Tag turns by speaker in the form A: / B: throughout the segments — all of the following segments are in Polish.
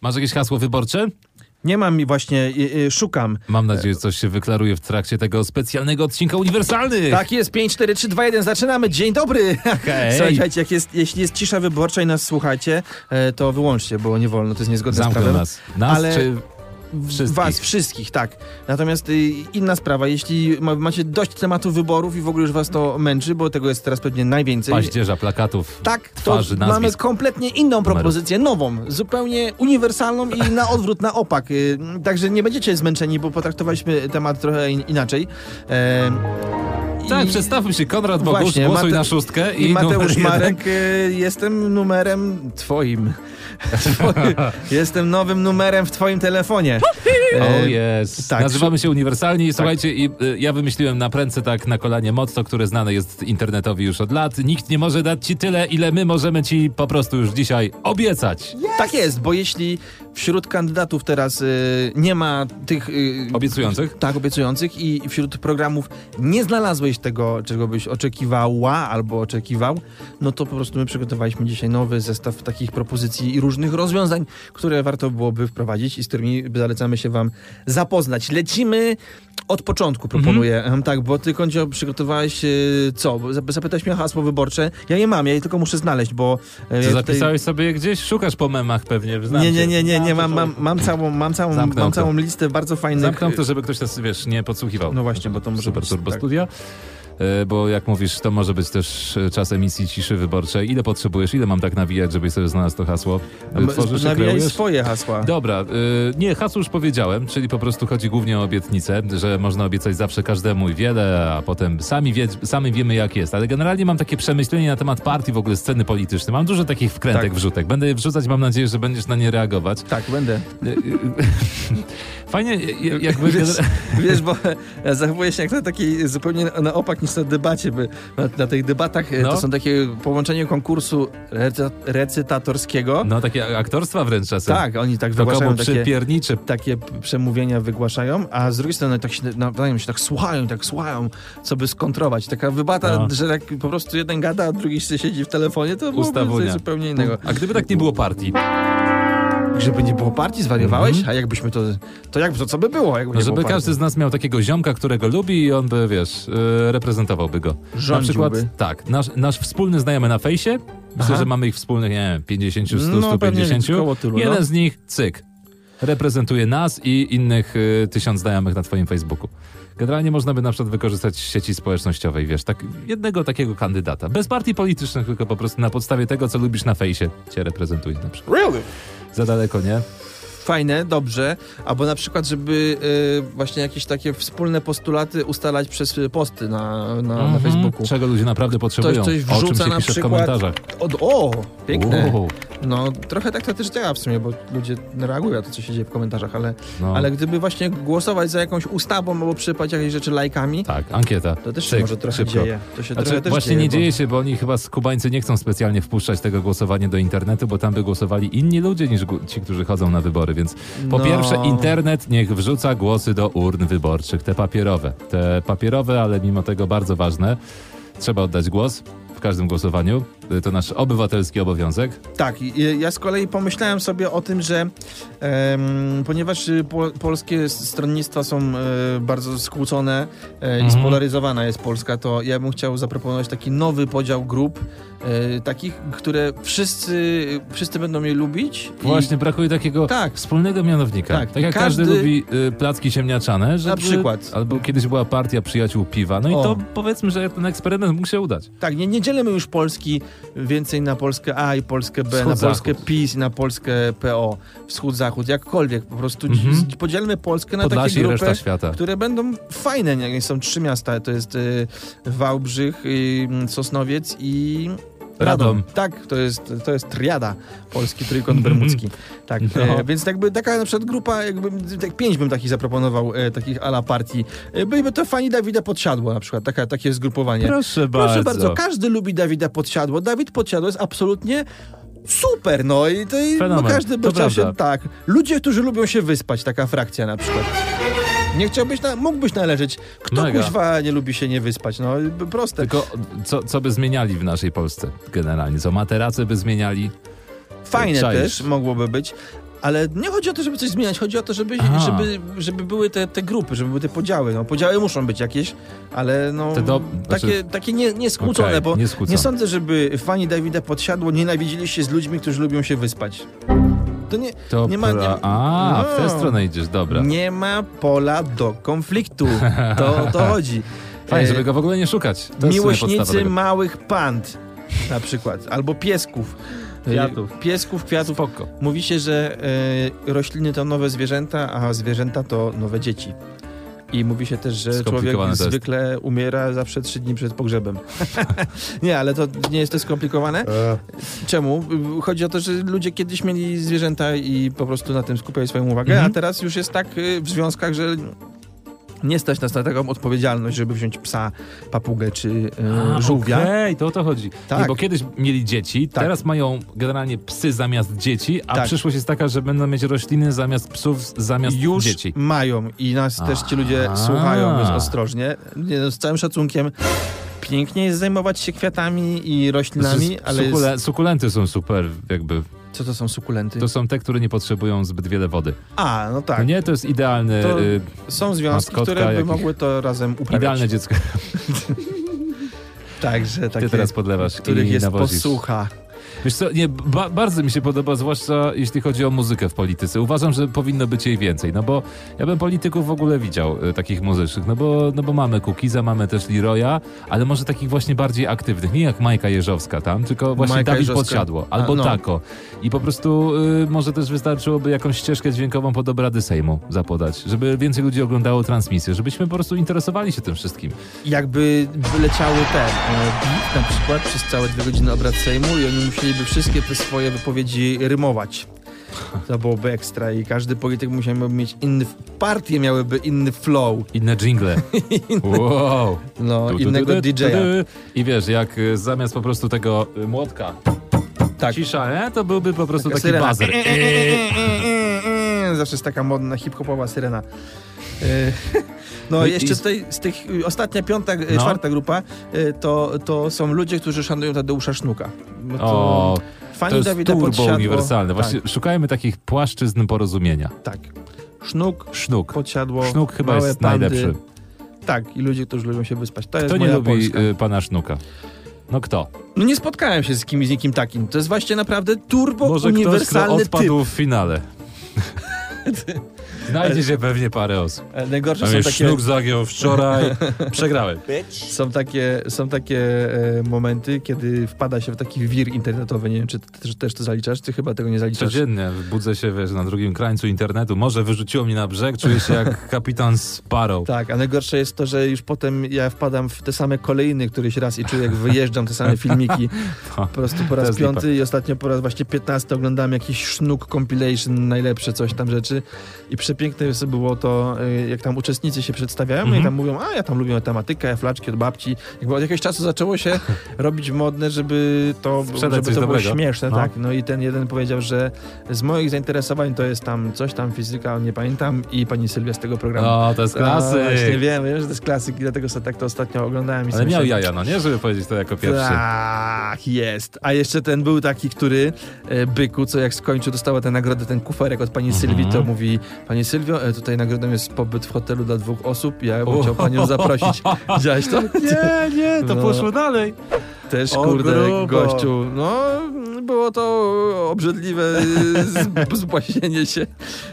A: Masz jakieś hasło wyborcze?
B: Nie mam i właśnie y, y, szukam.
A: Mam nadzieję, że coś się wyklaruje w trakcie tego specjalnego odcinka Uniwersalnych.
B: Tak jest, 5, 4, 3, 2, 1, zaczynamy. Dzień dobry!
A: Hej.
B: Słuchajcie, jak jest, jeśli jest cisza wyborcza i nas słuchacie, e, to wyłączcie, bo nie wolno, to jest niezgodne z
A: Zamknął
B: prawem.
A: nas. Nas
B: Ale-
A: czy...
B: W-
A: Wszystkich.
B: Was, wszystkich, tak. Natomiast y, inna sprawa, jeśli ma, macie dość tematu wyborów i w ogóle już was to męczy, bo tego jest teraz pewnie najwięcej.
A: Paździerza, plakatów.
B: Tak, to
A: Twarzy,
B: mamy
A: nazwisk.
B: kompletnie inną propozycję, nową, zupełnie uniwersalną i na odwrót, na opak. Y, Także nie będziecie zmęczeni, bo potraktowaliśmy temat trochę in- inaczej. E,
A: Tak,
B: i-
A: przedstawmy się, Konrad Bogusz,
B: Właśnie,
A: głosuj
B: Mate-
A: na szóstkę i,
B: I Mateusz
A: numer jeden.
B: Marek, y, jestem numerem twoim. jestem nowym numerem w twoim telefonie.
A: O
B: E,
A: jest.
B: tak,
A: Nazywamy się Uniwersalni i słuchajcie, i, y, ja wymyśliłem na prędce tak na kolanie motto, które znane jest internetowi już od lat. Nikt nie może dać ci tyle, ile my możemy ci po prostu już dzisiaj obiecać.
B: Tak jest, bo jeśli wśród kandydatów teraz y, nie ma tych... y,
A: Obiecujących?
B: Tak, obiecujących i wśród programów nie znalazłeś tego, czego byś oczekiwała albo oczekiwał, no to po prostu my przygotowaliśmy dzisiaj nowy zestaw takich propozycji i różnych rozwiązań, które warto byłoby wprowadzić i z którymi zalecamy się wam zapoznać. Lecimy od początku, proponuję. Em, Tak, bo ty, Kondzio, przygotowałeś y, co? Bo zap- Zapytałeś mnie o hasło wyborcze. Ja je mam, ja je tylko muszę znaleźć, bo... e, ja
A: Czy
B: tutaj-
A: zapisałeś sobie je gdzieś? Szukasz po memach pewnie, znam
B: nie,
A: cię.
B: nie, nie, nie, nie, mam, mam, mam całą, mam całą,
A: Zamknął
B: mam
A: to.
B: całą listę bardzo fajnych.
A: Zamknął to, żeby ktoś nas, wiesz, nie podsłuchiwał.
B: No właśnie, bo to może
A: Super
B: być-
A: Turbo
B: tak.
A: Studia. E, Bo jak mówisz, to może być też e, czas emisji ciszy wyborczej. Ile potrzebujesz, ile mam tak nawijać, żebyś sobie znalazł to hasło? E, Tworzysz i
B: Nawijaj
A: kreujesz?
B: swoje hasła.
A: Dobra, y, nie, hasło już powiedziałem, czyli po prostu chodzi głównie o obietnicę, że można obiecać zawsze każdemu i wiele, a potem sami, wie, sami wiemy jak jest. Ale generalnie mam takie przemyślenie na temat partii, w ogóle sceny politycznej. Mam dużo takich wkrętek,
B: Tak.
A: wrzutek. Będę je wrzucać, mam nadzieję, że będziesz na nie reagować.
B: Tak, będę.
A: Y, y, Fajnie, y, jakby...
B: Wiesz, wiesz, bo ja zachowuję się jak na takiej zupełnie na opak niż na debacie, by na, na tych debatach e,
A: No.
B: to są takie połączenie konkursu recy- recytatorskiego.
A: No, takie aktorstwa wręcz czasem.
B: Tak, oni tak
A: To komu
B: wygłaszają takie,
A: przypierniczy.
B: takie przemówienia wygłaszają, a z drugiej strony tak się nawzajem się tak słuchają, tak słuchają, co by skontrować. Taka wybata,
A: No.
B: że tak po prostu jeden gada, a drugi się siedzi w telefonie, to byłoby
A: Ustawunia.
B: coś zupełnie innego.
A: A gdyby tak nie było partii?
B: Żeby nie było partii, zwariowałeś? A jakbyśmy to... To jak, to co by było? Jakby
A: Mhm. No,
B: nie
A: żeby
B: było partii?
A: każdy z nas miał takiego ziomka, którego lubi i on by, wiesz, yy, reprezentowałby go. Na
B: Rządziłby.
A: przykład, tak, nasz, nasz wspólny znajomy na fejsie, myślę,
B: Aha.
A: że mamy ich wspólnych, nie wiem, 50, 100,
B: No, pewnie
A: 150.
B: koło tylu,
A: Jeden
B: no.
A: z nich, cyk, reprezentuje nas i innych y, tysiąc znajomych na twoim Facebooku. Generalnie można by na przykład wykorzystać sieci społecznościowej, wiesz, tak, jednego takiego kandydata. Bez partii politycznych, tylko po prostu na podstawie tego, co lubisz na fejsie, cię reprezentuje na przykład.
B: Really?
A: Za daleko, nie?
B: Fajne, dobrze. Albo na przykład, żeby y, właśnie jakieś takie wspólne postulaty ustalać przez y, posty na, na, na
A: Mhm.
B: Facebooku.
A: Czego ludzie naprawdę potrzebują,
B: coś
A: o czym
B: wrzuca
A: się
B: na
A: pisze w
B: przykład.
A: komentarzach.
B: Od, o, piękne.
A: Uuu,
B: No, trochę tak to też działa w sumie, bo ludzie reagują na to, co się dzieje w komentarzach, ale,
A: no,
B: ale gdyby właśnie głosować za jakąś ustawą albo przypać jakieś rzeczy lajkami,
A: Tak, ankieta.
B: to też się
A: Cyk,
B: może trochę
A: szybko.
B: dzieje. To się trochę
A: Znaczy,
B: też
A: właśnie
B: dzieje,
A: nie
B: bo-
A: dzieje się, bo oni chyba z Kubańcy nie chcą specjalnie wpuszczać tego głosowania do internetu, bo tam by głosowali inni ludzie niż gu- ci, którzy chodzą na wybory, więc po
B: No.
A: pierwsze internet niech wrzuca głosy do urn wyborczych, te papierowe. Te papierowe, ale mimo tego bardzo ważne. Trzeba oddać głos w każdym głosowaniu. Y, To nasz obywatelski obowiązek.
B: Tak, i- i ja z kolei pomyślałem sobie o tym, że em, ponieważ y, po, polskie s- stronnictwa są e, bardzo skłócone e, i
A: Mhm.
B: spolaryzowana jest Polska, to ja bym chciał zaproponować taki nowy podział grup, e, takich, które wszyscy, wszyscy będą je lubić. i-
A: Właśnie brakuje takiego
B: Tak.
A: wspólnego mianownika.
B: Tak,
A: Tak, jak każdy,
B: każdy
A: lubi y, placki ziemniaczane. Żeby,
B: przykład.
A: Albo kiedyś była partia przyjaciół piwa. No i
B: O.
A: to powiedzmy, że ten eksperyment mógł się udać.
B: Tak, nie, nie dzielimy już Polski więcej na Polskę A i Polskę B, na
A: Wschód,
B: Polskę
A: Zachód.
B: PiS, na Polskę PO, Wschód-Zachód, jakkolwiek. Po prostu
A: Mhm.
B: mhm. podzielmy Polskę na
A: Podlasie
B: takie
A: i
B: grupy.
A: reszta świata.
B: które będą fajne. Nie? Są trzy miasta, to jest y, Wałbrzych, y, Sosnowiec i Radom.
A: Radom. Mhm.
B: Tak, to jest, to jest triada, polski trójkąt bermudzki. Tak,
A: No.
B: e, więc jakby taka na przykład grupa, jakby, tak pięć bym takich zaproponował, e, takich ala partii. E, byliby to fani Dawida Podsiadło na przykład, taka, takie zgrupowanie.
A: Proszę
B: Proszę bardzo, każdy lubi Dawida Podsiadło. Dawid Podsiadło jest absolutnie super, no i to i, no
A: Fenomen,
B: każdy by
A: to
B: chciał się,
A: prawda.
B: tak. Ludzie, którzy lubią się wyspać, taka frakcja na przykład. Nie chciałbyś, na, mógłbyś należeć. Kto
A: Mega.
B: kuźwa nie lubi się nie wyspać, no i proste.
A: Tylko co, co by zmieniali w naszej Polsce generalnie? Co materace by zmieniali?
B: Fajne
A: czaisz.
B: też mogłoby być. Ale nie chodzi o to, żeby coś zmieniać, chodzi o to, żeby,
A: Aha.
B: żeby, żeby były te, te grupy, żeby były te podziały. No, podziały muszą być jakieś, ale no,
A: Te do-
B: takie,
A: znaczy-
B: takie nie, nieskłócone,
A: Okej,
B: bo nie,
A: nieskłócone.
B: sądzę, żeby fani Dawida Podsiadło nienawidzili się z ludźmi, którzy lubią się wyspać. To nie,
A: To
B: nie ma- nie-
A: pra- A, w tę
B: No.
A: stronę idziesz, dobra.
B: nie ma pola do konfliktu. To o to chodzi.
A: Fajnie,
B: E,
A: żeby go w ogóle nie szukać. To jest w sumie podstawa
B: Miłośnicy
A: tego.
B: małych pand na przykład, albo piesków. E,
A: Kwiatów.
B: Piesków, kwiatów.
A: Spoko.
B: Mówi się, że e, rośliny to nowe zwierzęta, a zwierzęta to nowe dzieci. I mówi się też, że człowiek
A: Skomplikowane to jest.
B: zwykle umiera zawsze trzy dni przed pogrzebem. nie, ale to nie jest to skomplikowane. Czemu? Chodzi o to, że ludzie kiedyś mieli zwierzęta i po prostu na tym skupiali swoją uwagę,
A: Mhm.
B: a teraz już jest tak y, w związkach, że nie stać nas na taką odpowiedzialność, żeby wziąć psa, papugę czy y,
A: A,
B: żółwia.
A: Okej, to o to chodzi.
B: Tak.
A: Nie, bo kiedyś mieli dzieci,
B: Tak.
A: teraz mają generalnie psy zamiast dzieci, a
B: Tak.
A: przyszłość jest taka, że będą mieć rośliny zamiast psów, zamiast
B: już
A: dzieci.
B: mają i nas też ci ludzie
A: Aha.
B: słuchają, więc ostrożnie. Nie, no, z całym szacunkiem. Pięknie jest zajmować się kwiatami i roślinami,
A: Znaczy,
B: ale
A: sukule-
B: jest,
A: Sukulenty są super, jakby.
B: co to są sukulenty?
A: To są te, które nie potrzebują zbyt wiele wody.
B: A, no tak.
A: No nie, to jest idealny,
B: To
A: y,
B: Są związki,
A: Maskotka
B: które by
A: jakich-
B: mogły to razem uprawiać.
A: idealne dziecko.
B: Także takie,
A: Ty teraz podlewasz
B: których
A: i
B: jest
A: nawozisz.
B: posłucha.
A: Wiesz co, nie, ba, bardzo mi się podoba, zwłaszcza jeśli chodzi o muzykę w polityce. Uważam, że powinno być jej więcej, no bo ja bym polityków w ogóle widział e, takich muzycznych, no bo, no bo mamy Kukiza, mamy też Leroya, ale może takich właśnie bardziej aktywnych, nie jak Majka Jeżowska tam, tylko właśnie
B: Majka
A: Dawid
B: Jeżowska.
A: Podsiadło
B: A,
A: albo
B: no.
A: Tako. I po prostu y, może też wystarczyłoby jakąś ścieżkę dźwiękową pod obrady Sejmu zapodać, żeby więcej ludzi oglądało transmisję, żebyśmy po prostu interesowali się tym wszystkim.
B: Jakby leciały te e, beat na przykład przez całe dwie godziny obrad Sejmu i oni musieliby wszystkie te swoje wypowiedzi rymować. To byłoby ekstra i każdy polityk musiałby mieć inny, partie miałyby inny flow.
A: Inne jingle. wow.
B: No,
A: Tu, tu,
B: innego
A: tu, tu, tu,
B: DJ-a.
A: tu. I wiesz, jak y, zamiast po prostu tego y, młotka
B: Tak.
A: cisza, nie? to byłby po prostu taki
B: syrena.
A: buzzer.
B: E, e, e, e, e, e. Zawsze jest taka modna hip-hopowa syrena. E, No,
A: No i-
B: jeszcze tutaj z tych, y, ostatnia, piąta, y,
A: No.
B: czwarta grupa, y, to, to są ludzie, którzy szanują Tadeusza Sznuka. No to
A: O, to
B: fani
A: jest turbo
B: Podsiadło-
A: uniwersalne. Właśnie
B: Tak,
A: szukajmy takich płaszczyzn porozumienia.
B: tak. Sznuk,
A: Sznuk.
B: podsiadło,
A: Sznuk chyba
B: małe
A: jest
B: pandy.
A: najlepszy.
B: Tak, i ludzie, którzy lubią się wyspać. To jest
A: Kto nie
B: moja
A: lubi
B: Polska.
A: y, pana sznuka? No kto?
B: No nie spotkałem się z kimś, z nikim takim. To jest właśnie naprawdę turbo
A: Może ktoś, kto
B: uniwersalny typ.
A: odpadł w finale. Znajdzie się pewnie parę osób.
B: Ale E, Najgorsze
A: Tam
B: są
A: jest
B: takie...
A: sznuk zagiął wczoraj, przegrałem.
B: Są takie, są takie e, momenty, kiedy wpada się w taki wir internetowy. Nie wiem, czy ty też, też to zaliczasz? Ty chyba tego nie zaliczasz.
A: Codziennie budzę się, wiesz, na drugim krańcu internetu. Może wyrzuciło mnie na brzeg, czuję się jak kapitan Sparrow.
B: Tak, a najgorsze jest to, że już potem ja wpadam w te same kolejny któryś raz i czuję, jak wyjeżdżam te same filmiki.
A: To-
B: Po prostu po
A: No, to
B: raz
A: jest lipa.
B: piąty i ostatnio po raz właśnie piętnasty oglądałem jakiś sznuk compilation, najlepsze coś tam rzeczy. I przepiękne sobie było to, y, jak tam uczestnicy się przedstawiają
A: Mhm.
B: i tam mówią, a ja tam lubię tematykę, flaczki od babci. Jakby od jakiegoś czasu zaczęło się robić modne, żeby to,
A: Sprzedać
B: żeby
A: coś
B: to było
A: dobrego.
B: śmieszne.
A: No.
B: Tak. No i ten jeden powiedział, że z moich zainteresowań to jest tam coś tam, fizyka, nie pamiętam i pani Sylwia z tego programu.
A: O, No, to jest
B: A, Właśnie
A: klasyk.
B: wiem, wiem, że to jest klasyk i dlatego sobie tak to ostatnio oglądałem.
A: Ale
B: I sobie
A: miał
B: myślałem,
A: jaja, no nie? Żeby powiedzieć to jako pierwszy.
B: Tak, jest. A jeszcze ten był taki, który e, byku, co jak skończył, dostała tę nagrodę, ten kuferek od pani Sylwii,
A: Mhm.
B: to mówi, pani Sylwio, e, tutaj nagrodą jest pobyt w hotelu dla dwóch osób, ja bym chciał panią zaprosić. Widziałeś to?
A: Nie, nie,
B: to poszło
A: dalej.
B: Też,
A: O, grubo.
B: kurde, gościu. No, było to obrzydliwe z- zbłaźnienie się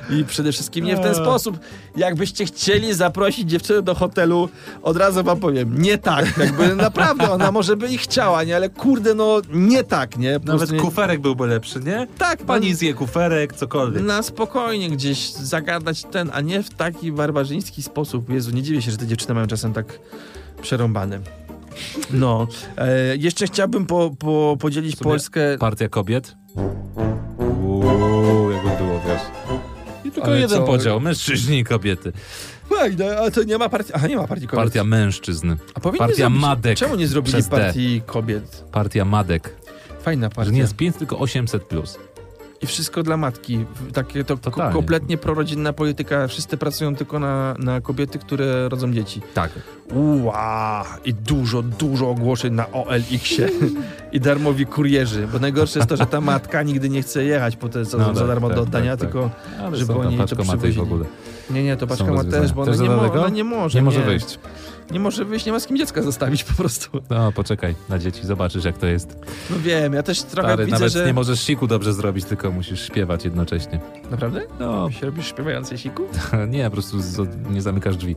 B: i przede wszystkim nie w ten
A: A.
B: sposób. Jakbyście chcieli zaprosić dziewczynę do hotelu, od razu wam powiem, nie tak. Jakby naprawdę ona może by i chciała, nie? Ale kurde, no nie tak, nie? Po prostu
A: Nawet
B: nie,
A: kuferek byłby lepszy, nie?
B: tak,
A: Pani
B: pani
A: zje kuferek, cokolwiek.
B: na spokojnie gdzieś zagadać ten, a nie w taki barbarzyński sposób. Jezu, nie dziwię się, że te dziewczyny mają czasem tak przerąbane. No, e, jeszcze chciałbym po, po, podzielić
A: W sumie-
B: Polskę.
A: Partia kobiet. No. Uuu, jakby było, wiesz. I tylko
B: Ale
A: jeden
B: co?
A: podział, mężczyźni i kobiety.
B: Ej, no, a to nie ma partii. Aha, nie ma partii kobiet.
A: Partia mężczyzn,
B: a powinni
A: partia Madek.
B: Czemu nie zrobili
A: Przez D.
B: partii kobiet?
A: partia Madek.
B: Fajna
A: Że
B: partia.
A: nie jest 5, tylko 800+. Plus.
B: I wszystko dla matki. Takie to ko-
A: Totalnie.
B: kompletnie prorodzinna polityka. Wszyscy pracują tylko na, na kobiety, które rodzą dzieci.
A: Tak.
B: Ua, i dużo, dużo ogłoszeń na OLX-ie i darmowi kurierzy, bo najgorsze jest to, że ta matka nigdy nie chce jechać po te za,
A: No
B: za
A: tak,
B: darmo
A: tak,
B: do oddania,
A: tak, tak.
B: tylko
A: Ale
B: Żeby
A: są
B: oni
A: tam
B: to
A: paczkomaty i w
B: przywozili.
A: ogóle.
B: nie, nie, to paczka ma
A: rozwiązane.
B: też, bo ona
A: Też za
B: nie, mo-
A: daleko?
B: ona nie może.
A: Nie może wyjść.
B: Nie może wyjść, nie ma z kim dziecka zostawić po prostu.
A: No, poczekaj na dzieci, zobaczysz jak to jest.
B: No wiem, ja też trochę
A: Stary,
B: widzę,
A: nawet
B: że...
A: nie możesz siku dobrze zrobić, tylko musisz śpiewać jednocześnie.
B: Naprawdę?
A: No,
B: Się robisz śpiewający siku?
A: nie, po prostu z, nie zamykasz drzwi.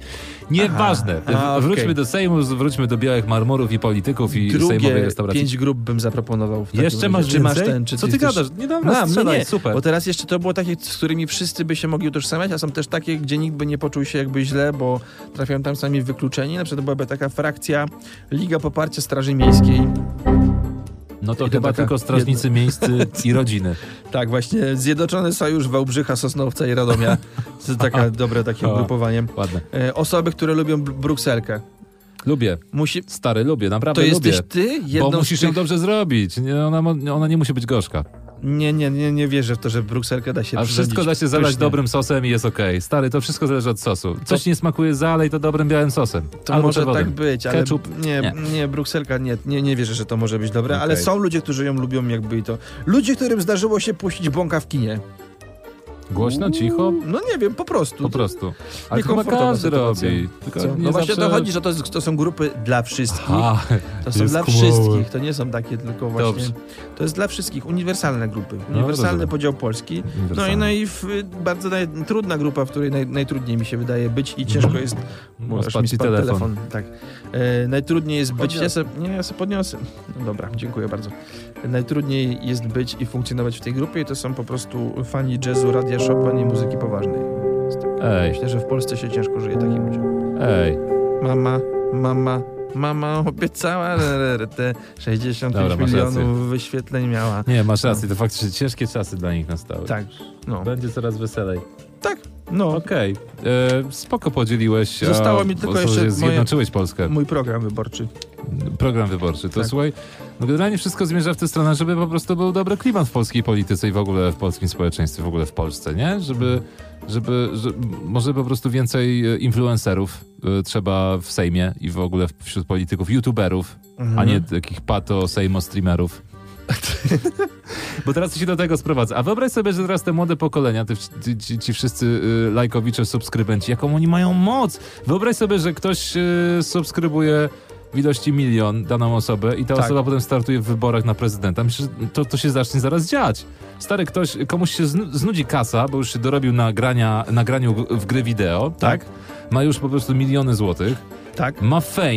A: Nieważne.
B: Aha,
A: W- Wróćmy
B: okej.
A: do Sejmu, z- wróćmy do białych marmurów i polityków i sejmowej
B: Drugie
A: restauracji.
B: pięć grup bym zaproponował. W takim
A: Jeszcze
B: razie.
A: masz
B: czy masz
A: więcej?
B: ten, czy
A: Co ty
B: chcesz-
A: gadasz? Nie dam
B: No,
A: raz,
B: nie, nie,
A: super.
B: Bo teraz jeszcze to było takie, z którymi wszyscy by się mogli utożsamiać, a są też takie, gdzie nikt by nie poczuł się jakby źle, bo trafiają tam sami wykluczeni. Na przykład byłaby taka frakcja Liga Poparcia Straży Miejskiej.
A: No to
B: I to
A: chyba
B: taka
A: tylko strażnicy miejscy i rodziny.
B: Tak, właśnie. Zjednoczony Sojusz Wałbrzycha, Sosnowca i Radomia. To taka, dobre takie
A: O.
B: ugrupowanie.
A: Ładne.
B: E, osoby, które lubią Br- Brukselkę.
A: Lubię.
B: Musi...
A: Stary, lubię, naprawdę
B: To
A: lubię.
B: jesteś ty?
A: Bo
B: Jedną z
A: musisz
B: tych...
A: ją dobrze zrobić. Nie, ona, mo- ona nie musi być gorzka.
B: Nie, nie, nie, nie wierzę w to, że Brukselkę da się
A: A wszystko da
B: przyrządzić
A: się zalać
B: pysznie.
A: dobrym sosem i jest okej. Stary, to wszystko zależy od sosu. Coś nie smakuje, zalej to dobrym białym sosem.
B: To
A: Albo
B: może
A: czerwonym.
B: tak być, ale
A: Ketchup?
B: Nie,
A: Nie.
B: nie, Brukselka nie, nie, nie wierzę, że to może być dobre, ale
A: Okej.
B: są ludzie, którzy ją lubią jakby i to. Ludzie, którym zdarzyło się puścić bąka w kinie.
A: Głośno, cicho,
B: No nie wiem, po prostu.
A: po prostu. Ale chyba
B: Niekomfortowa
A: każdy
B: sytuacja.
A: robi. Tylko
B: Co? No
A: nie
B: właśnie
A: zawsze...
B: to chodzi, że to, jest- to są grupy dla wszystkich.
A: A,
B: to są
A: jest
B: dla
A: kłowy.
B: wszystkich, to nie są takie tylko właśnie.
A: Dobrze. No,
B: To jest dla wszystkich, uniwersalne grupy. Uniwersalny
A: rozumiem.
B: podział Polski. No i,
A: uniwersalny.
B: no i w, bardzo naj, trudna grupa, w której naj, najtrudniej mi się wydaje być i ciężko
A: Mhm.
B: jest
A: Bo
B: Aż
A: spadł
B: mi
A: ci
B: spadł
A: telefon.
B: Tak. E, najtrudniej jest być.
A: Podniosę.
B: Ja se, nie, ja se podniosę. No dobra, dziękuję bardzo. Najtrudniej jest być i funkcjonować w tej grupie i to są po prostu fani jazzu, radia Chopin i muzyki poważnej.
A: Ej,
B: Myślę, że w Polsce się ciężko żyje takim ludziom.
A: ej.
B: Mama, mama, mama obiecała RRT. 65
A: Dobra, masz
B: milionów
A: rację.
B: wyświetleń miała.
A: Nie, masz rację, to faktycznie ciężkie czasy dla nich nastały.
B: Tak, no.
A: Będzie coraz weselej.
B: Tak, no.
A: Okej, e, spoko podzieliłeś. a-
B: Zostało mi tylko
A: bo-
B: jeszcze
A: że
B: moje-
A: Zjednoczyłeś Polskę.
B: Mój program wyborczy.
A: Program wyborczy. To
B: Tak.
A: słuchaj, no generalnie wszystko zmierza w tę stronę, żeby po prostu był dobry klimat w polskiej polityce i w ogóle w polskim społeczeństwie, w ogóle w Polsce, nie? Żeby, żeby, że- może po prostu więcej e, influencerów e, trzeba w Sejmie i w ogóle wśród polityków, youtuberów, a
B: Mhm.
A: nie takich pato sejmo streamerów. Bo teraz się do tego sprowadza. A wyobraź sobie, że teraz te młode pokolenia, te, wsz- ci- ci, ci wszyscy y, lajkowicze, subskrybenci, jaką oni mają moc. Wyobraź sobie, że ktoś y, subskrybuje w ilości milion daną osobę i ta
B: Tak.
A: osoba potem startuje w wyborach na prezydenta. Myślę, że to, to się zacznie zaraz dziać. Stary, ktoś, komuś się znu- znudzi kasa, bo już się dorobił na, grania, na graniu g- w gry wideo, tak?
B: Tak.
A: Ma już po prostu miliony złotych
B: Tak.
A: ma fame,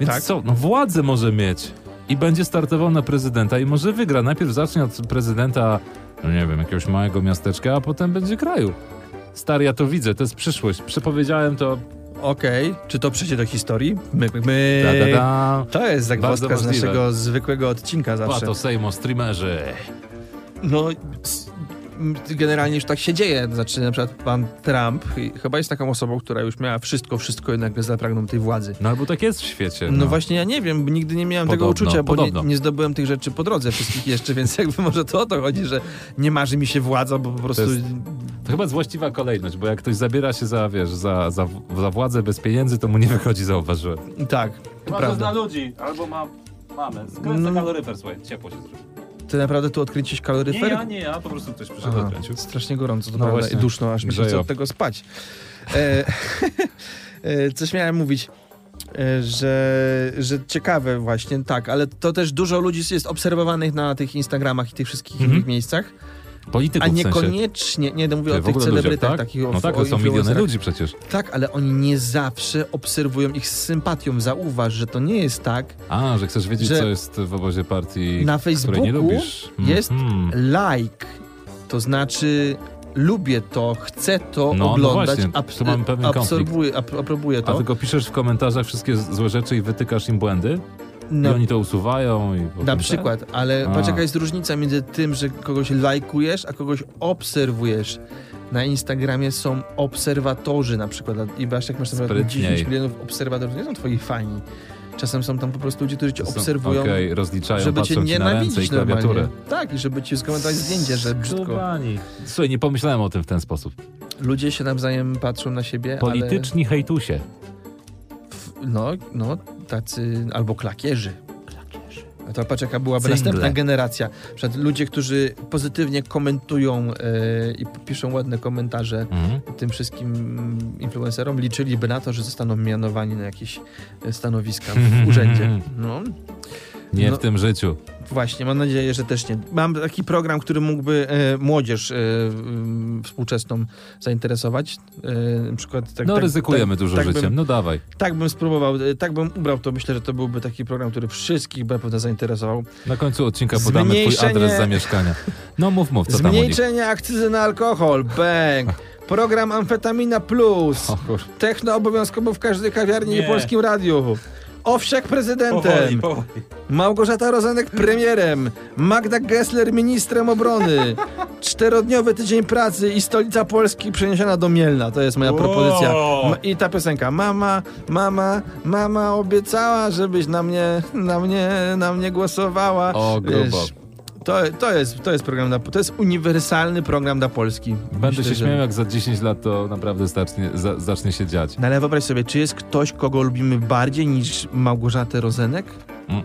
A: więc
B: Tak.
A: co? No władzę może mieć. I będzie startował na prezydenta i może wygra. Najpierw zacznie od prezydenta, no nie wiem, jakiegoś małego miasteczka, a potem będzie kraju. Stary, ja to widzę, to jest przyszłość. Przepowiedziałem to.
B: Okej, czy to przejdzie do historii? Myk, myk, myk.
A: Da, da, da.
B: To jest zagwozdka
A: Bardzo
B: z
A: możliwe.
B: naszego zwykłego odcinka zawsze.
A: Pato Sejmo, streamerzy.
B: No, s- m, generalnie już tak się dzieje. Znaczy, na przykład pan Trump i- chyba jest taką osobą, która już miała wszystko, wszystko i nagle zapragnął tej władzy.
A: No albo tak jest w świecie.
B: No, właśnie, ja nie wiem, bo nigdy nie miałem
A: Podobno,
B: tego uczucia, bo
A: podobno.
B: nie, nie zdobyłem tych rzeczy po drodze wszystkich jeszcze, więc jakby może to o to chodzi, że nie marzy mi się władza, bo po prostu...
A: jest- To chyba jest właściwa kolejność, bo jak ktoś zabiera się za, wiesz, za, za, za władzę bez pieniędzy, to mu nie wychodzi, zauważyłem.
B: Tak, to prawda.
A: ludzi, albo ma mamę.
B: Skręca No.
A: kaloryfer, słuchaj, ciepło się zrobi.
B: Ty naprawdę tu odkręciłeś kaloryfer?
A: nie ja, po prostu ktoś przyszedł,
B: Aha, strasznie gorąco, to
A: No
B: prawda,
A: właśnie.
B: i duszno, aż mi się
A: Grzeją.
B: chce od tego spać. E, e, coś miałem mówić, e, że, że ciekawe właśnie, tak, ale to też dużo ludzi jest obserwowanych na tych Instagramach i tych wszystkich
A: Mhm.
B: innych miejscach,
A: Polityków
B: a
A: w sensie.
B: niekoniecznie, nie, no mówię
A: Ty,
B: o
A: w
B: tych
A: ogóle ludzie,
B: celebrytach
A: tak?
B: takich, o,
A: No tak,
B: o
A: to są miliony
B: influencerach.
A: ludzi przecież.
B: Tak, ale oni nie zawsze obserwują ich z sympatią, zauważ, że to nie jest tak.
A: A, że chcesz wiedzieć,
B: Że
A: co jest w obozie partii,
B: na
A: której nie
B: Facebooku
A: lubisz.
B: jest
A: Mhm.
B: Like, to znaczy... Lubię to, chcę to
A: No, no
B: oglądać,
A: właśnie, tu mamy pewien konflikt.
B: absorbuję, ap- aprobuję
A: A
B: to.
A: tylko piszesz w komentarzach wszystkie z- złe rzeczy i wytykasz im błędy?
B: Na,
A: I oni to usuwają? I
B: No. na
A: potem-
B: przykład, ale
A: A.
B: patrz jaka jest różnica między tym, że kogoś lajkujesz, a kogoś obserwujesz. Na Instagramie są obserwatorzy na przykład i masz, jak masz na przykład
A: Sprytniej.
B: 10 milionów obserwatorów, nie są twoi fani. Czasem są tam po prostu ludzie, którzy cię
A: To są-
B: obserwują,
A: Okej, rozliczają,
B: żeby cię
A: patrzą ci na ręce i
B: nienawidzić
A: klawiaturę.
B: normalnie. Tak, i żeby ci skomentować zdjęcie, że brzydko.
A: Skubani. Słuchaj, nie pomyślałem o tym w ten sposób.
B: Ludzie się nawzajem patrzą na siebie,
A: Polityczni hejtusie.
B: ale w, No, no, tacy albo klakierzy.
A: Klakierzy.
B: A to patrz, jaka byłaby
A: Single.
B: następna generacja. Na Przykład ludzie, którzy pozytywnie komentują e, i piszą ładne komentarze
A: Mhm.
B: tym wszystkim influencerom, liczyliby na to, że zostaną mianowani na jakieś e, stanowiska w urzędzie. No,
A: Nie
B: No.
A: w tym życiu.
B: Właśnie, mam nadzieję, że też nie. Mam taki program, który mógłby e, młodzież e, m, współczesną zainteresować. E, na przykład tak,
A: no
B: tak,
A: ryzykujemy
B: tak,
A: dużo
B: tak
A: życiem,
B: Bym,
A: no dawaj.
B: tak bym spróbował, e, tak bym ubrał, to myślę, że to byłby taki program, który wszystkich by na pewno zainteresował.
A: Na końcu odcinka podamy twój
B: Zmniejszenie-
A: adres zamieszkania. No mów, mów, co tam u nich.
B: Zmniejszenie akcyzy na alkohol, bang! Program Amfetamina Plus.
A: O kur-
B: Techno obowiązkowo w każdej kawiarni i
C: Nie.
B: polskim radiu. Owsiak prezydentem.
C: Powoli, powoli.
B: Małgorzata Rozenek premierem, Magda Gessler ministrem obrony. Czterodniowy tydzień pracy i stolica Polski przeniesiona do Mielna. To jest moja
C: Wow.
B: propozycja. Ma- I ta piosenka. Mama, mama, mama obiecała, żebyś na mnie, na mnie, na mnie głosowała.
A: O, grubo.
B: to, to, jest, to jest program dla, to jest uniwersalny program dla Polski.
A: Będę
B: Myślę,
A: się
B: że-
A: śmiał, jak za 10 lat to naprawdę zacznie, za, zacznie się dziać.
B: No ale wyobraź sobie, czy jest ktoś, kogo lubimy bardziej niż Małgorzatę Rozenek?
A: Mm.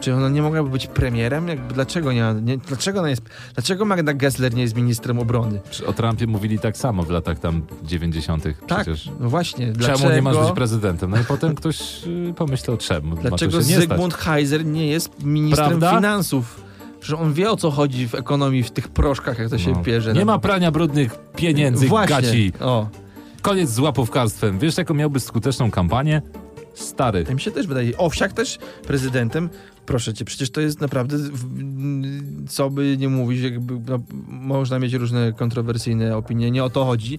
B: Czy ona nie mogłaby być premierem? Jakby dlaczego nie, nie dlaczego ona jest, dlaczego Magda Gessler nie jest ministrem obrony?
A: Przy- O Trumpie mówili tak samo w latach tam 90.
B: Tak,
A: przecież.
B: no właśnie,
A: Czemu
B: dlaczego,
A: nie masz być prezydentem? No i potem ktoś y, pomyślał, czemu ma
B: dlaczego
A: to się nie stać.
B: Zygmunt Heiser nie jest ministrem
A: Prawda?
B: finansów? Że on wie o co chodzi w ekonomii, w tych proszkach, jak to się
A: No.
B: pierze.
A: Nie
B: No.
A: ma prania brudnych pieniędzy,
B: Właśnie.
A: gaci.
B: O,
A: Koniec z łapówkarstwem. Wiesz, jaką miałby skuteczną kampanię? Stary.
B: to mi się też wydaje. Owsiak też prezydentem. Proszę cię, przecież to jest naprawdę, w- co by nie mówić, jakby, no, można mieć różne kontrowersyjne opinie, nie o to chodzi.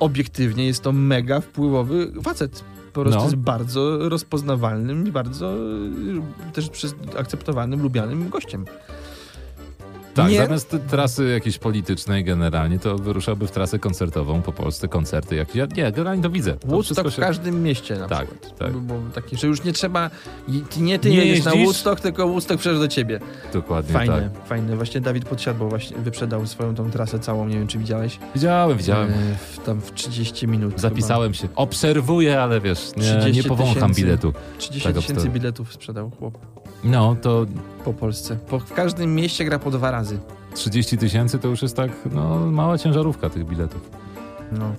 B: Obiektywnie jest to mega wpływowy facet. Po prostu
A: No.
B: jest bardzo rozpoznawalnym i bardzo y, też przez akceptowanym, lubianym gościem.
A: Tak,
B: nie-
A: zamiast t- trasy jakiejś politycznej generalnie, to wyruszałby w trasę koncertową po Polsce, koncerty jakieś. Ja, nie, generalnie to widzę. To wszystko
B: Woodstock w
A: się-
B: każdym mieście na
A: Tak,
B: przykład.
A: tak.
B: By było takie, że już nie trzeba, i- ty, nie ty
A: Nie
B: nie jedziesz na
A: jeździsz?
B: Woodstock, tylko Woodstock przyjeżdża do ciebie.
A: Dokładnie
B: Fajne,
A: tak.
B: fajne. Właśnie Dawid podsiadł, właśnie wyprzedał swoją tą trasę całą, nie wiem czy widziałeś.
A: Widziałem, widziałem.
B: E, W, tam w 30 minut.
A: Zapisałem się. Obserwuję, ale wiesz, nie, nie
B: 30
A: powącham
B: tysięcy.
A: biletu.
B: Chyba. 30
A: Tak,
B: tysięcy
A: obstawiam.
B: biletów sprzedał chłop
A: No, to
B: po Polsce. Po, w każdym mieście gra po dwa razy.
A: 30 tysięcy to już jest tak, no, mała ciężarówka tych biletów.
B: No.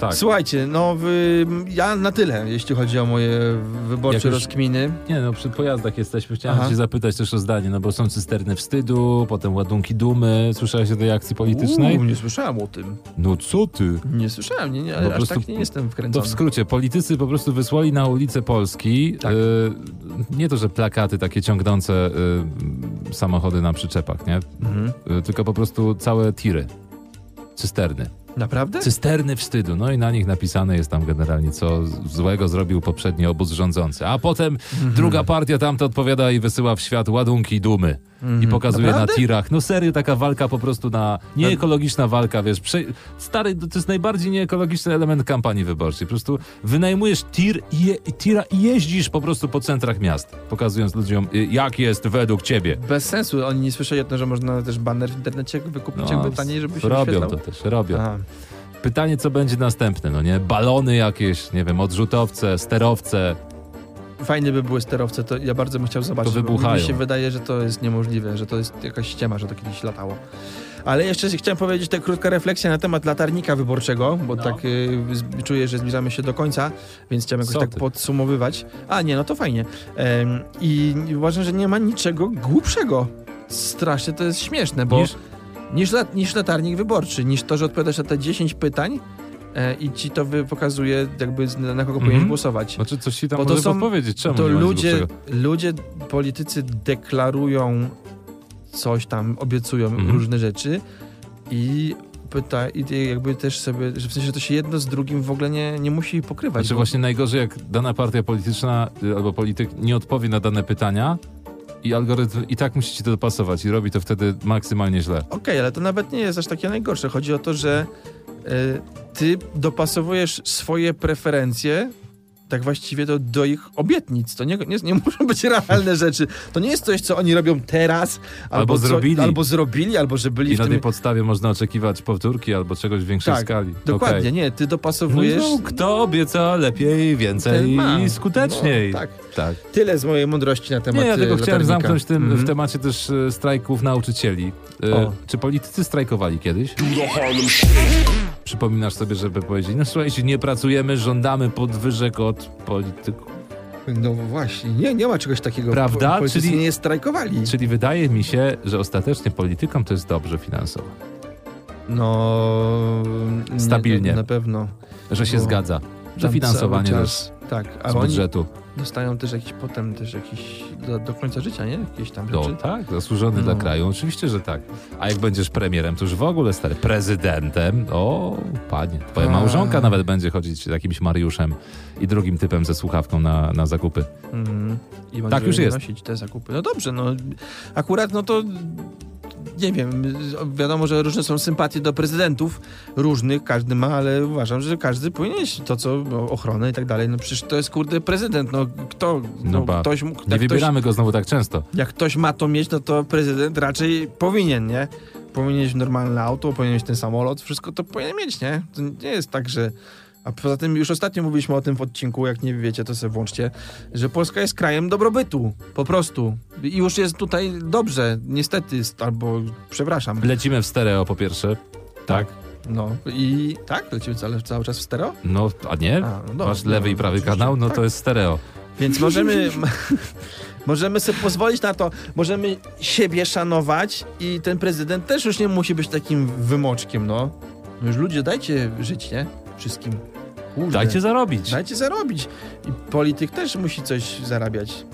A: Tak.
B: Słuchajcie, no wy, ja na tyle, jeśli chodzi o moje
A: Jak
B: wyborcze
A: już-
B: rozkminy.
A: Nie no, przy pojazdach jesteśmy. Chciałem
B: Aha.
A: cię zapytać też o zdanie, no bo są cysterny wstydu, potem ładunki dumy. Słyszałeś o tej akcji politycznej?
B: Uuu, nie słyszałem o tym.
A: No co ty?
B: Nie słyszałem, nie, nie,
A: Po
B: aż
A: prostu-
B: tak nie jestem
A: To
B: wkręcony.
A: w skrócie, politycy po prostu wysłali na ulice Polski
B: Tak.
A: e, nie to, że plakaty takie ciągnące e, samochody na przyczepach, nie?
B: Mhm.
A: E, tylko po prostu całe tiry. Cysterny.
B: Naprawdę?
A: Cysterny wstydu. No i na nich napisane jest tam generalnie, co z- złego zrobił poprzedni obóz rządzący. A potem
B: Mhm. Hmm.
A: druga partia tamto odpowiada i wysyła w świat ładunki dumy. I pokazuje
B: Mhm. Naprawdę?
A: na tirach. No serio, taka walka po prostu na... Nieekologiczna walka, wiesz. Prze... Stary, to jest najbardziej nieekologiczny element kampanii wyborczej. Po prostu wynajmujesz tir i, je... i tira i jeździsz po prostu po centrach miast, pokazując ludziom, y, jak jest według ciebie.
B: Bez sensu, oni nie słyszeli o tym, że można też baner w internecie wykupić jakby taniej, żeby się
A: No, robią
B: wyświetlał.
A: to też, robią.
B: Aha.
A: Pytanie, co będzie następne, no nie? Balony jakieś, nie wiem, odrzutowce, sterowce.
B: Fajne by były sterowce, to ja bardzo bym chciał zobaczyć. bo
A: wybuchają.
B: Mi się wydaje, że to jest niemożliwe, że to jest jakaś ściema, że to kiedyś latało. Ale jeszcze chciałem powiedzieć tę krótka refleksja na temat latarnika wyborczego, bo
A: No.
B: tak y, z- czuję, że zbliżamy się do końca, więc chciałem jakoś
A: Co
B: tak
A: ty?
B: podsumowywać. A nie, no to fajnie. Em, I uważam, że nie ma niczego głupszego. Strasznie to jest śmieszne, bo
A: Niż-
B: niż, lat, niż latarnik wyborczy, niż to, że odpowiadasz na te 10 pytań e, i ci to wy, pokazuje, jakby z- na kogo powinieneś
A: Mhm.
B: głosować.
A: Znaczy, coś ci tam
B: Bo to
A: może
B: są-
A: podpowiedzieć. Czemu
B: to
A: nie ma nic
B: ludzie,
A: głupszego?
B: ludzie, politycy deklarują coś tam, obiecują
A: Mhm.
B: różne rzeczy i pyta, i jakby też sobie, że w sensie to się jedno z drugim w ogóle nie, nie musi pokrywać.
A: Znaczy
B: bo-
A: właśnie najgorzej, jak dana partia polityczna y, albo polityk nie odpowie na dane pytania i algorytm i tak musi ci to dopasować i robi to wtedy maksymalnie źle.
B: Okej, ale to nawet nie jest aż takie najgorsze. Chodzi o to, że e, ty dopasowujesz swoje preferencje tak właściwie to do ich obietnic. To nie, nie, nie muszą być realne rzeczy. To nie jest coś, co oni robią teraz, albo,
A: Albo
B: co,
A: zrobili.
B: albo zrobili, albo że byli
A: I
B: w
A: na
B: tym...
A: tej podstawie można oczekiwać powtórki albo czegoś w większej
B: Tak,
A: skali.
B: Dokładnie,
A: Okej.
B: nie, ty
A: No, i
B: dopasowujesz...
A: znowu, kto obieca lepiej,
B: Ten
A: więcej
B: ma.
A: i skuteczniej.
B: No, tak.
A: tak.
B: Tyle z mojej mądrości na temat
A: Nie, ja
B: e,
A: tylko chciałem
B: latarnika.
A: zamknąć tym,
B: Mhm.
A: w temacie też e, strajków nauczycieli. E,
B: O.
A: Czy politycy strajkowali kiedyś? Przypominasz sobie, żeby powiedzieć, no słuchajcie, nie pracujemy, żądamy podwyżek od polityków.
B: No właśnie, nie, nie ma czegoś takiego.
A: Prawda?
B: Po, Czyli
A: Czyli-
B: nie strajkowali.
A: Czyli wydaje mi się, że ostatecznie politykom to jest dobrze finansowo.
B: No... nie,
A: Stabilnie.
B: to Na pewno.
A: Że się
B: Bo
A: zgadza. Że
B: No, Tam
A: finansowanie
B: cały
A: też
B: czas, Tak,
A: z
B: ale oni
A: budżetu.
B: dostają też jakiś potem też jakiś do, do końca życia, nie? Jakieś tam
A: No
B: rzeczy.
A: tak, zasłużony dla
B: Znaczy? No.
A: kraju, oczywiście, że tak. A jak będziesz premierem, to już w ogóle stary prezydentem. O, panie, twoja
B: A.
A: małżonka nawet będzie chodzić jakimś Mariuszem i drugim typem ze słuchawką na, na zakupy.
B: Mhm. I
A: Tak już jest.
B: nosić te zakupy. No dobrze, no akurat no to nie wiem, wiadomo, że różne są sympatie do prezydentów, różnych, każdy ma, ale uważam, że każdy powinien mieć to, co no, ochronę i tak dalej. No przecież to jest kurde prezydent, no kto,
A: No
B: no,
A: ba,
B: ktoś, mógł-
A: Nie
B: jak ktoś,
A: wybieramy go znowu tak często.
B: jak ktoś ma to mieć, no to prezydent raczej powinien, nie? Powinien mieć normalne auto, powinien mieć ten samolot, wszystko to powinien mieć, nie? To nie jest tak, że... A poza tym już ostatnio mówiliśmy o tym w odcinku, jak nie wiecie, to sobie włączcie, że Polska jest krajem dobrobytu, po prostu. I już jest tutaj dobrze, niestety, st- albo przepraszam.
A: Lecimy w stereo po pierwsze. Tak?
B: No i tak, lecimy cały, cały czas w stereo?
A: No, a nie?
B: A, no dobra,
A: Masz lewy
B: no,
A: i prawy
B: oczywiście,
A: kanał, no
B: tak.
A: to jest stereo.
B: Więc możemy, możemy sobie pozwolić na to, możemy siebie szanować i ten prezydent też już nie musi być takim wymoczkiem, no. No już ludzie, dajcie żyć, nie? Wszystkim. Kurde.
A: Dajcie zarobić.
B: dajcie zarobić. I polityk też musi coś zarabiać.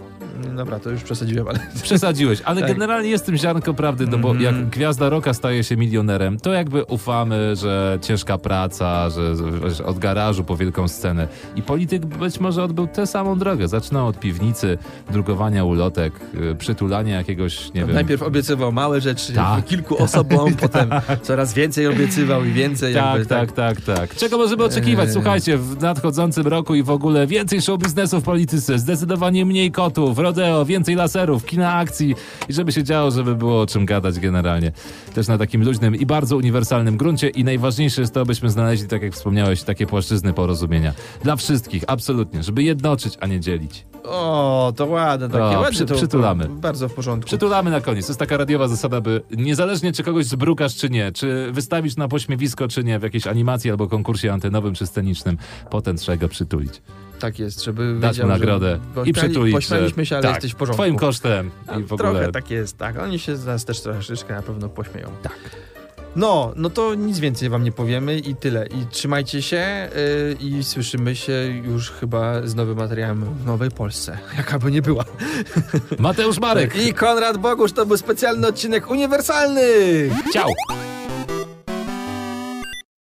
B: No Dobra, to już przesadziłem, ale...
A: Przesadziłeś, ale
B: Tak.
A: generalnie jest w tym ziarnko prawdy, no bo
B: Mhm.
A: jak gwiazda roka staje się milionerem, to jakby ufamy, że ciężka praca, że że od garażu po wielką scenę. I polityk być może odbył tę samą drogę. Zaczynał od piwnicy, drukowania ulotek, y, przytulania jakiegoś, nie wiem.
B: Najpierw obiecywał małe rzeczy
A: Tak.
B: kilku osobom, potem coraz więcej obiecywał i więcej.
A: Tak,
B: jakby,
A: tak, tak, tak. Czego możemy oczekiwać?
B: Eee.
A: Słuchajcie, w nadchodzącym roku i w ogóle więcej show biznesu w polityce, zdecydowanie mniej kotów, rodeo, więcej laserów, kina akcji i żeby się działo, żeby było o czym gadać generalnie. Też na takim luźnym i bardzo uniwersalnym gruncie i najważniejsze jest to, abyśmy znaleźli, tak jak wspomniałeś, takie płaszczyzny porozumienia. Dla wszystkich, absolutnie, żeby jednoczyć, a nie dzielić.
B: O, to ładne, takie
A: O,
B: ładne.
A: przy-
B: to,
A: przytulamy.
B: Bardzo w porządku.
A: Przytulamy na koniec. To jest taka radiowa zasada, by niezależnie czy kogoś zbrukasz czy nie, czy wystawisz na pośmiewisko czy nie, w jakiejś animacji albo konkursie antenowym czy scenicznym, potem trzeba go przytulić.
B: Tak jest, żeby
A: Dać
B: wiedział,
A: mu nagrodę
B: że
A: i przytulić. że-
B: Pośmialiśmy się, ale
A: tak,
B: jesteś w porządku.
A: Twoim kosztem i w
B: A,
A: ogóle.
B: Trochę tak jest, tak. Oni się z nas też troszeczkę na pewno pośmieją. Tak. No, no to nic więcej wam nie powiemy i tyle. I trzymajcie się yy, i słyszymy się już chyba z nowym materiałem w Nowej Polsce. Jaka by nie była.
A: Mateusz Marek, Tak.
B: I Konrad Bogusz, to był specjalny odcinek uniwersalny!
A: ciao!